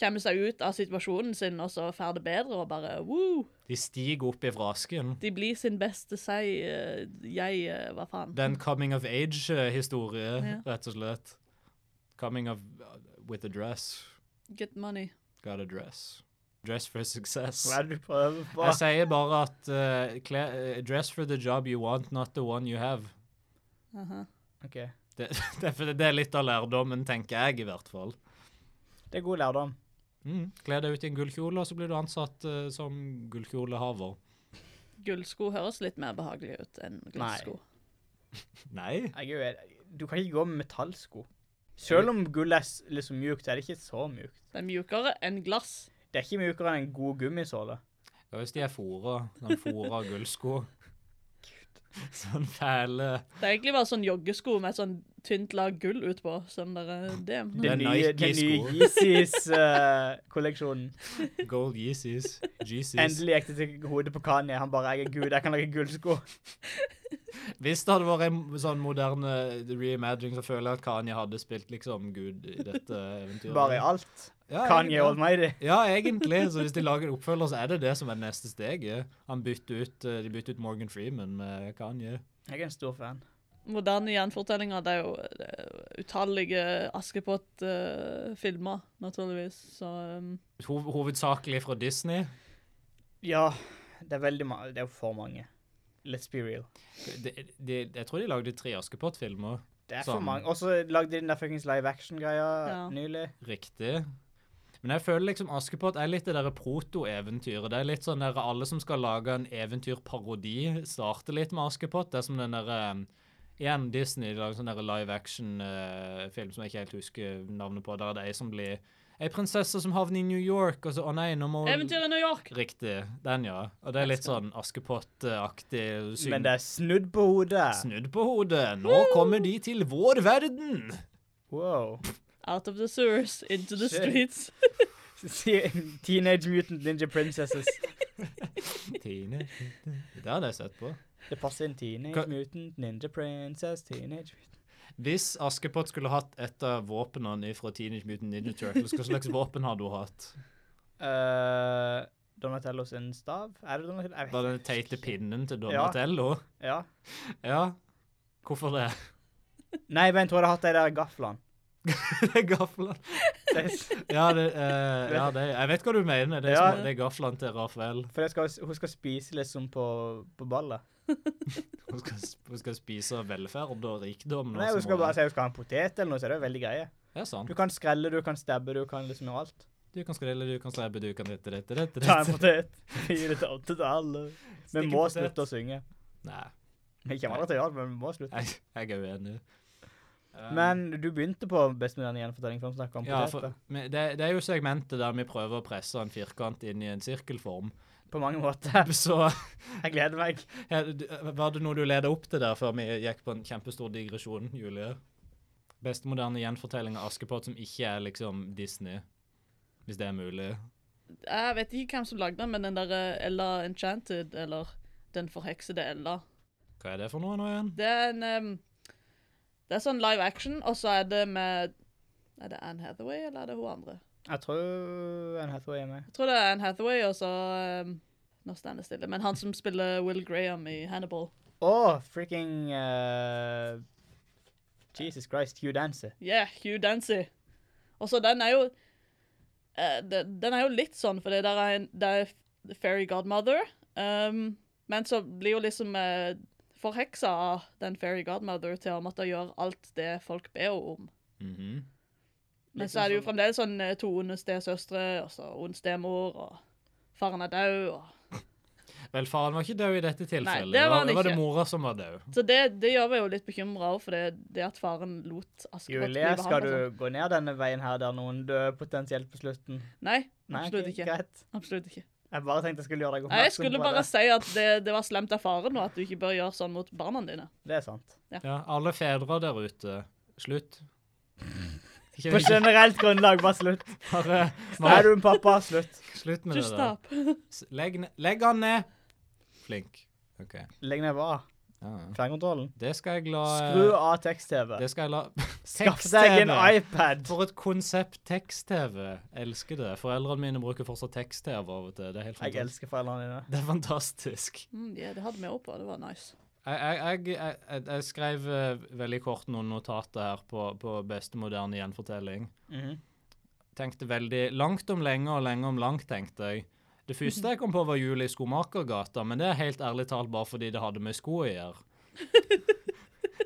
kommer seg ut av situasjonen sin, og så får det bedre, og bare woo! De stiger opp ifra asken. De blir sin beste seg, eh, jeg, eh, hva faen. Det er en coming of age-historie, Ja. rett og slett. Coming of with a dress. Get money. Got a dress. Dress for success. Hva er det du prøver på? Jeg sier bare at eh, kle- eh, dress for the job you want, not the one you have. Aha. Ok. Det, det, er fordi det er litt av lærdommen, tenker jeg i hvert fall. Det er god lærdom. Mm. Kle deg ut i en gullkjole, og så blir du ansatt eh, som gullkjolehaver. Gullsko høres litt mer behagelig ut enn glassko. Nei. Jeg er jo, du kan ikke gå med metallsko. Selv om gull er s- liksom mjukt, så er det ikke så mjukt. Det er mjukere enn glass. Det er ikke mjukere enn en god gummisåle. Ja, hvis de er fora, sånn fora gullsko. Sånn fæle Det er egentlig bare sånn joggesko med et sånn tynt lag gull utpå. Sånn der, eh, det. Det Den er nye, den nye eh, Nike-sko. Yeezys-kolleksjonen. Gold Yeezys. Jesus. Endelig gikk det til hodet på Kanye. Han bare 'Jeg er gud, jeg kan lage gullsko'. Hvis det hadde vært en sånn moderne reimagining, så føler jeg at Kanye hadde spilt liksom Gud i dette eventyret. Bare i alt. Ja, Kanye egentlig. Almighty. Ja, egentlig. Så hvis de lager en oppfølger, så er det det som er neste steget. Han bytter ut, eh, de bytter ut Morgan Freeman med Kanye. Jeg er en stor fan. Moderne gjenfortellinger, det er jo det er jo utallige Askepott-filmer, naturligvis. Så um, Hov hovedsakelig fra Disney. Ja, det er veldig ma Det er jo for mange. Let's be real. De, de, jeg tror de lagde tre Askepott-filmer. Det er for Sånn. mange. Og så lagde de den der fuckings live action-greia Ja. nylig. Riktig. Men jeg føler liksom Askepott er litt det derre proto-eventyret. Det er litt sånn der alle som skal lage en eventyrparodi, starter litt med Askepott. Det er som den derre Igjen, Disney de lager sånn der live action-film som jeg ikke helt husker navnet på. Der er det ei som blir Ei prinsesse som havner i New York, og så Å nei, nå må Eventyr i New York! Riktig. Den, ja. Og det er litt sånn Askepott-aktig. syng- Men det er snudd på hodet. Snudd på hodet. Nå kommer de til vår verden! Wow. Out of the sewers, into the Shit. streets. Se- Teenage Mutant Ninja Princesses. Tine. Det hadde jeg sett på. Det passer inn Teenage Hva- Mutant Ninja Princess, Teenage Hvis Askepott skulle hatt et av våpnene fra Teenage Mutant Ninja Turtles, hva slags våpen hadde hun hatt? uh, Donatello sin stav? Er det Donatello? Jeg Bare vet den teite pinnen til Ja. Donatello? ikke. Ja. Ja. Hvorfor det? Nei, vent, hun hadde hatt de der gaflene. det er gaflene. Ja, det, eh, ja det, jeg vet hva du mener. Det er, Ja. små- det er gaflene til Rafael. For jeg skal, hun skal spise liksom på, på ballet. Hun skal, hun skal spise velferd og rikdom. og Nei, hun så skal må bare si hun skal ha en potet eller noe, så det er jo veldig greie. Det er sant. Du kan skrelle, du kan stabbe, du kan liksom gjøre alt. Du kan skrelle, du kan slæbe, du kan dette, dette, dette. Ta en dette. potet. Gi det til til alle. Vi Stikke må potet. slutte å synge. Nei, Vi kommer aldri til å gjøre det, men vi må slutte. jeg, jeg er uenig. Eh, Um, Men du begynte på Best med den gjenfortelling før vi snakket om ja, poteter. for, men det, det er jo segmentet der vi prøver å presse en firkant inn i en sirkelform. På mange måter. Så Jeg gleder meg. Ja, du- Var det noe du leda opp til der før vi gikk på en kjempestor digresjon, Julie? Best moderne gjenfortelling av Askepott som ikke er liksom Disney, hvis det er mulig. Jeg vet ikke hvem som lagde den, men den der eh, Ella Enchanted, eller Den forheksede Ella. Hva er det for noe nå igjen? Det er en em, Det er sånn live action, og så er det med Er det Anne Hathaway, eller er det hun andre? Jeg tror en Hathaway er med. Jeg tror det er Anne Hathaway, og så em, Nå står det stille. Men han som spiller Will Graham i Hannibal. Å, freaking eh, Jesus Christ, Hugh Dancer. Yeah, Hugh Dancy. Og så den er jo eh, de- Den er jo litt sånn, for det der er en det er f- Fairy Godmother. Um, men så blir jo liksom eh, forheksa av den Fairy Godmother til å måtte gjøre alt det folk ber henne om. Mhm. Men Litt så er det jo sånn- fremdeles sånn eh, to onde stesøstre, og så ond stemor, og faren er død, og Vel, faren var ikke død i dette tilfellet. Nei, det var han var det ikke. mora som var død? Så det, det gjør meg jo litt bekymra òg, for det, det at faren lot Askepott bli Julie, skal behandla sånn. du gå ned denne veien her der noen dør potensielt på slutten? Nei, Nei, ok, absolutt ikke. Greit. Absolutt ikke. Jeg bare tenkte jeg skulle gjøre deg Nei, jeg oppmerksom skulle på bare det. si at det, det var slemt av faren, og at du ikke bør gjøre sånn mot barna dine. Det er sant. Ja, alle fedre der ute. Slutt. På Ikke, ikke, generelt grunnlag, bare slutt. bare, Er bare du en pappa? Slutt. slutt med Du det der. stapp. S- Legg, ne- legg han ned! Flink. OK. Legg ned hva? Ja, ja. Fjernkontrollen. Det skal jeg la Skru av tekst-TV. Det skal jeg la Skaff deg en Tekst-TV. iPad. For et konsept tekst-TV. Elsker det. Foreldrene mine bruker fortsatt tekst-TV av og til. Det er helt Jeg fantastisk. elsker foreldrene dine. Det er fantastisk. Mm, ja, det hadde vi òg på. Det var nice. Jeg, jeg, jeg, jeg, jeg skrev eh, veldig kort noen notater her på, på beste moderne gjenfortelling. Mhm. Tenkte veldig langt om lenge og lenge om langt, tenkte jeg. Det første jeg kom på, var jul i Skomakergata, men det er helt ærlig talt bare fordi det hadde med sko å gjøre.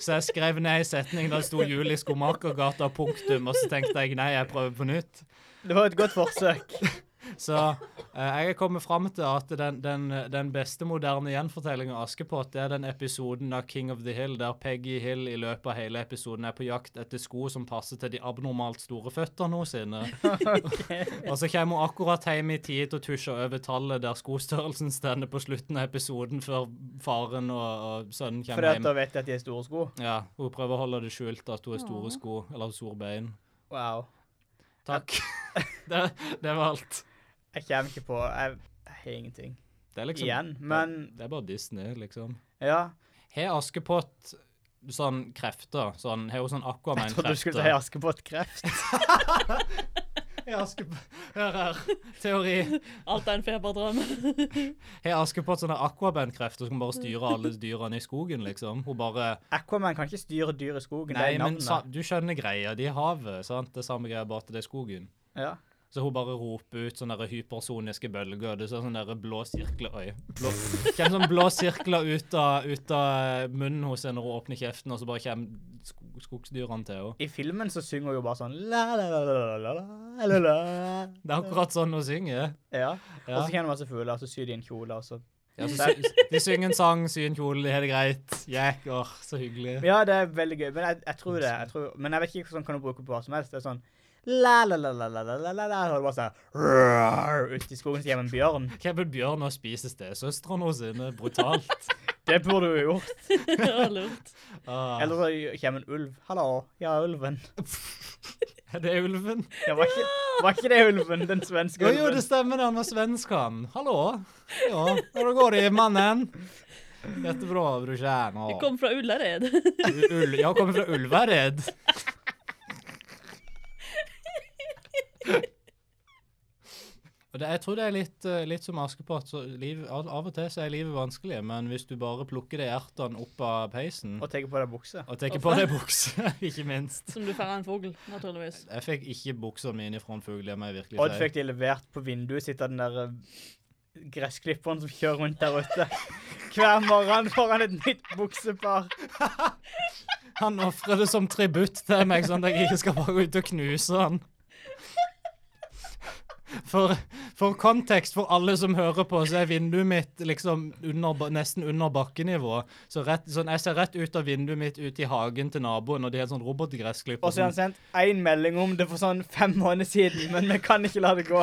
Så jeg skrev ned en setning der det sto 'Jul i Skomakergata', punktum, og så tenkte jeg nei, jeg prøver på nytt. Det var et godt forsøk. Så eh, jeg er kommet fram til at den, den, den beste moderne gjenfortellingen av Askepott, det er den episoden av King of the Hill der Peggy Hill i løpet av hele episoden er på jakt etter sko som passer til de abnormalt store føttene hennes. Og så kommer hun akkurat hjem i tid til å tusje over tallet der skostørrelsen stender på slutten av episoden før faren og, og sønnen For kommer at da hjem. vet jeg at de er store sko. Ja, hun prøver å holde det skjult at hun har store sko, eller store bein. Wow. Takk. det, det var alt. Jeg kommer ikke på Jeg, jeg har ingenting. Det er liksom Igjen. Men Det er bare Disney, liksom. ja. Har Askepott sånn krefter? Sånn, har hun sånn Jeg trodde du skulle si Aquaman-krefter? Askepott-kreft. Har Askepott Hør her, teori. Alt er en feberdrøm. Har Askepott sånne Aquaman-krefter som bare styrer alle dyrene i skogen, liksom? Hun bare Aquaman kan ikke styre dyr i skogen. Nei, det er men navnet. sa, du skjønner greia. De er havet, sant? Det er samme greia, bare at det er skogen. ja. Så hun bare roper ut sånne der hypersoniske bølger, og det ser sånne der blå sirkler Oi. Blå, kommer sånne blå sirkler ut av, ut av munnen hos henne når hun åpner kjeften, og så bare kommer skog, skogsdyrene til henne. I filmen så synger hun jo bare sånn la la la la la la la la Det er akkurat sånn hun synger. Ja. Ja. Og så kjenner hun masse fugler, og så syr de en kjole, og så Ja, så sy de synger en sang, syr en kjole, det er greit. Jekker, så hyggelig. Ja, det er veldig gøy. Men jeg, jeg tror det. Jeg tror, men jeg vet ikke hvordan kan du bruke på hva som helst. Det er sånn la la la la la la la la la Og det bare sånn roar, Ute i skogen så kommer en bjørn. Kevin Bjørn og spiser stesøstrene sine brutalt. Det burde du jo gjort. Det var lurt. Ah, Eller så kommer en ulv. Hallo. Ja, ulven. er det ulven? Ja, var, ikke, var ikke det ulven? Den svenske Jo, jo, det ulven? stemmer det, han var svensk han. Hallo. Ja, hvordan går det, mannen? Jättebra, brorsan. Vi Ja. kom fra Ullared. U- Ul jeg kommer fra Ulvered. Og det, jeg tror det er litt, eh, litt som Askepott. så liv- Av av og til så er livet vanskelig, men hvis du bare plukker de ertene opp av peisen Og tenker på deg bukse. og tar på deg bukse, ikke minst Som du får en fugl, naturligvis. Jeg fikk ikke buksene mine fra en fugl, det må jeg virkelig Odd si. fikk de levert på vinduet sitt av den der eh, gressklipperen som kjører rundt der ute. Hver morgen får han et nytt buksepar. Han ofrer det som tributt til meg, sånn at jeg ikke skal bare ut og knuse han. For, for kontekst, for alle som hører på, så er vinduet mitt liksom under, ba- nesten under bakkenivå. Så rett, sånn, jeg ser rett ut av vinduet mitt ut i hagen til naboen, og de er sånn Og robotgressklipper. så har han Sånn, sendt én melding om det for sånn fem måneder siden, men vi kan ikke la det gå.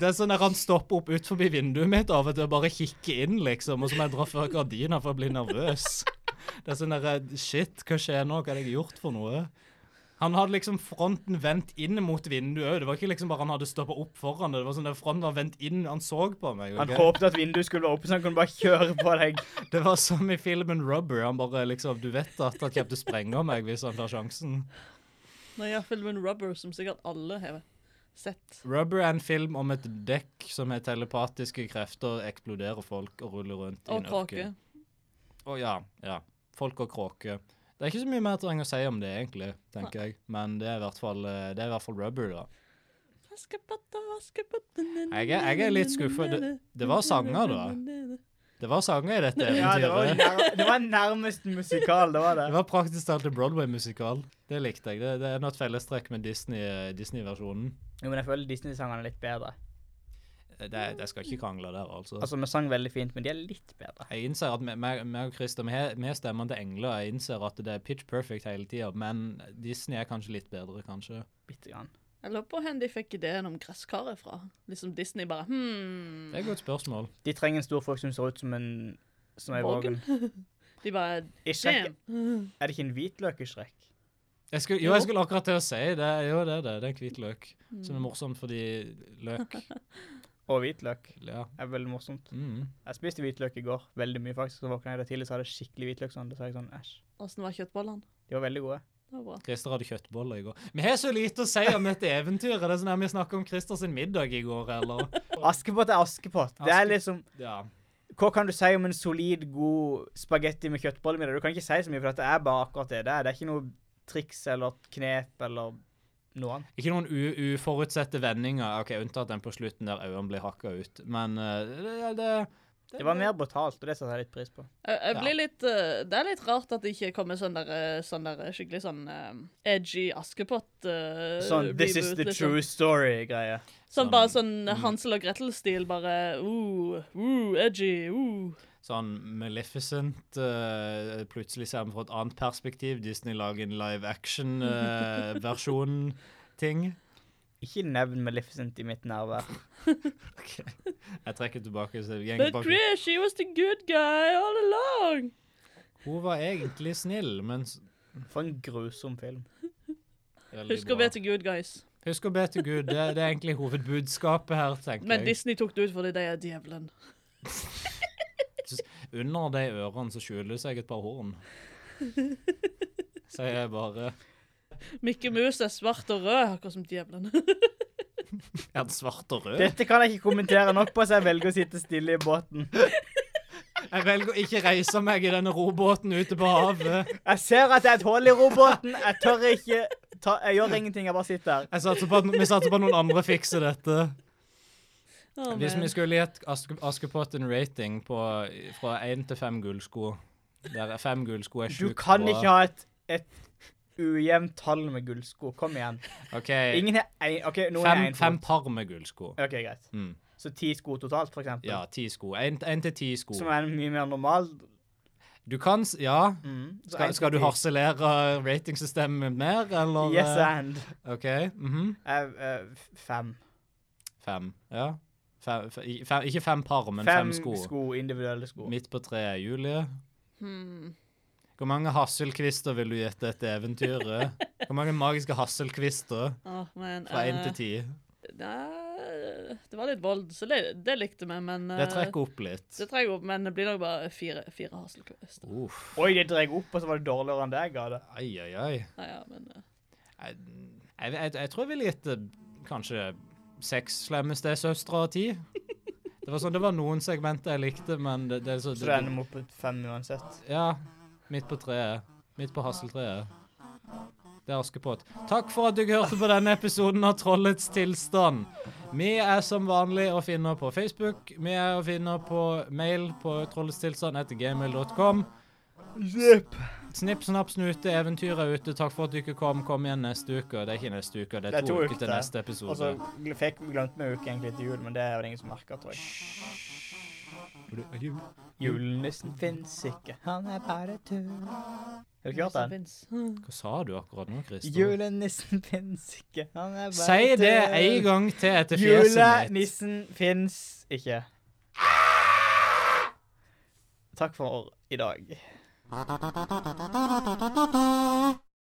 det er sånn der han stopper opp ut forbi vinduet mitt av og til og bare kikker inn, liksom. Og så må jeg dra før gardina for å bli nervøs. Det er sånn der, shit, hva skjer nå? Hva har jeg gjort for noe? Han hadde liksom fronten vendt inn mot vinduet òg. Det var ikke liksom bare han hadde stoppa opp foran det. Det var sånn der fronten var vendt inn, han så på meg. Han ok? håpte at vinduet skulle være oppe, så han kunne bare kjøre på deg. Det var som i filmen Rubber. Han bare liksom Du vet at han kommer til å sprenge meg hvis han tar sjansen. Når jeg har filmen Rubber, som sikkert alle har sett. Rubber er en film om et dekk som har telepatiske krefter, eksploderer folk og ruller rundt i Og en kråke. ørken. Å ja, ja. Folk og kråke. Det er ikke så mye mer jeg trenger å si om det, egentlig, tenker jeg. Men det er i hvert fall, eh, det er i hvert fall Rubber, da. Askepott og Askepott Jeg Jeg er- jeg er litt skuffet. Det- det var sanger, da. Det var sanger i dette Ja, det var, eventyret. nær, det var nærmest musikal, det var det. Det var praktisk talt en Broadway-musikal. Det likte jeg. Det, det er noe fellestrekk med Disney- eh, Disney-versjonen. Eh, Jo, men jeg føler Disney-sangene er litt bedre. det, det skal ikke krangle der, altså. Altså, vi sang veldig fint, men de er litt bedre. Jeg innser at me- meg meg og Christer, vi har vi har stemmene til engler. Jeg innser at det er pitch perfect hele tida, men Disney er kanskje litt bedre, kanskje. Bitte grann. Jeg lurer på hvor de fikk ideen om gresskaret fra. Liksom Disney bare hmm. Det er et godt spørsmål. De trenger en stor folk som ser ut som en som er vågen. De bare I Shrek, Damn. er det ikke en hvitløk i Shrek? Jeg skulle, jo, jeg skulle akkurat til å si det. Jo, det er det. Det er hvit løk. Som er morsomt fordi løk Og hvitløk Ja. er veldig morsomt. Mm. Jeg spiste hvitløk i går, veldig mye faktisk. Så våkna jeg i dag tidlig, så hadde jeg skikkelig hvitløk sånn. Da sa jeg sånn, æsj. Åssen var kjøttbollene? De var veldig gode. Det var bra. Christer hadde kjøttboller i går. Vi har så lite å si om dette eventyret. Det er sånn at Vi snakket om Christers middag i går, eller Askepott er Askepott. Det er Aske- liksom Ja. Hva kan du si om en solid, god spagetti med kjøttbollemiddag? Du kan ikke si så mye, for dette er bare akkurat det det er. Det er ikke noe triks eller knep eller noe annet. Ikke noen u uforutsette vendinger, ok, unntatt den på slutten der øynene blir hakka ut. Men eh, det, det, det Det var mer brutalt, og det setter jeg litt pris på. Jeg, jeg Ja. blir litt eh, Det er litt rart at det ikke kommer sånn der, eh, sånn der eh, skikkelig sånn eh, edgy Askepott eh, Sånn this is reboot, the liksom. true story-greie. Sånn Sånn, bare sånn mm. Hansel og Gretel-stil, bare uh, uh, edgy, uh. Sånn Maleficent eh, Plutselig ser vi fra et annet perspektiv. Disney lager en live eh, action-versjon-ting. Ikke nevn Maleficent i mitt nærvær. Jeg trekker tilbake. Så jeg But Chris, she was the good guy all along. Hun var egentlig snill, men s- For en grusom film. veldig Husk å bra. be til good guys. Husk å be til Gud. Det, det er egentlig hovedbudskapet her, tenker Men jeg. Disney tok det ut fordi de er djevelen. Under de ørene så skjuler det seg et par horn. Sier jeg bare. Mikke Mus er svart og rød, akkurat som djevelen. Er den svart og Eh. rød? Dette kan jeg ikke kommentere nok på, så jeg velger å sitte stille i båten. Jeg velger å ikke reise meg i denne robåten ute på havet. Jeg ser at det er et hull i robåten. Jeg tør ikke ta Jeg gjør ingenting, jeg bare sitter her. Jeg satser på at, vi satser på at noen andre fikser dette. Å, Hvis man. vi skulle gitt Aske, Askepott en rating på, fra én til fem gullsko Der fem gullsko er Du sjukt kan bra. ikke ha et, et ujevnt tall med gullsko. Kom igjen. OK. Ingen har én OK, noen har Fem, én fem fot. par med gullsko. OK, greit. Mm. Så ti sko totalt, for eksempel. Ja, ti sko. Én én til ti sko. Som er en mye mer normal. Du kan s- Ja. Mm. Så en Skal, til skal du ti. harselere ratingsystemet mer, eller? Yes eh, and. OK. mhm. Jeg, eh, f- fem. Fem. Ja. Fem, fe- i- fem, ikke fem par, men fem, Fem sko. sko, individuelle sko. Midt på treet, Julie. Hmm. Hvor mange hasselkvister vil du gjette dette eventyret? Hvor mange magiske hasselkvister Å, men, fra én eh, til ti? Nei, det var litt vold, så det, det likte vi, men Det eh, trekker opp Oh. litt. Det trekker opp, men det blir nok bare fire, fire Hasselquist. Uff. Oi, det dreier opp, og så var det dårligere enn det jeg ga det. Ai, ai, ai. Nei, ja, men eh, Jeg, jeg, jeg tror jeg ville gitt det eh, kanskje seks slemmeste søstre av ti. Det var sånn, det var noen segmenter jeg likte, men det, det er så Så det ender vi opp på fem uansett. Ja. Midt på treet. Midt på hasseltreet. Det er Askepott. Takk for at du hørte på denne episoden av Trollets tilstand. Vi er som vanlig å finne på Facebook. Vi er å finne på mail på trolletstilstand.gmail.com. Snipp, snapp, snute, eventyr er ute. Takk for at du ikke kom. Kom igjen neste uke. Det er ikke neste uke, det er to, uker til Altså, neste Og så episode. gl- fikk, glemte vi jo ikke egentlig til jul, men det er jo det ingen som merker, tror jeg. Julenissen fins ikke, han er bare tull. Har du ikke hørt den? Hva sa du akkurat nå, Christer? Julenissen fins ikke, han er bare Si det en gang til etter fjeset mitt. Julenissen fins ikke. Takk for i dag.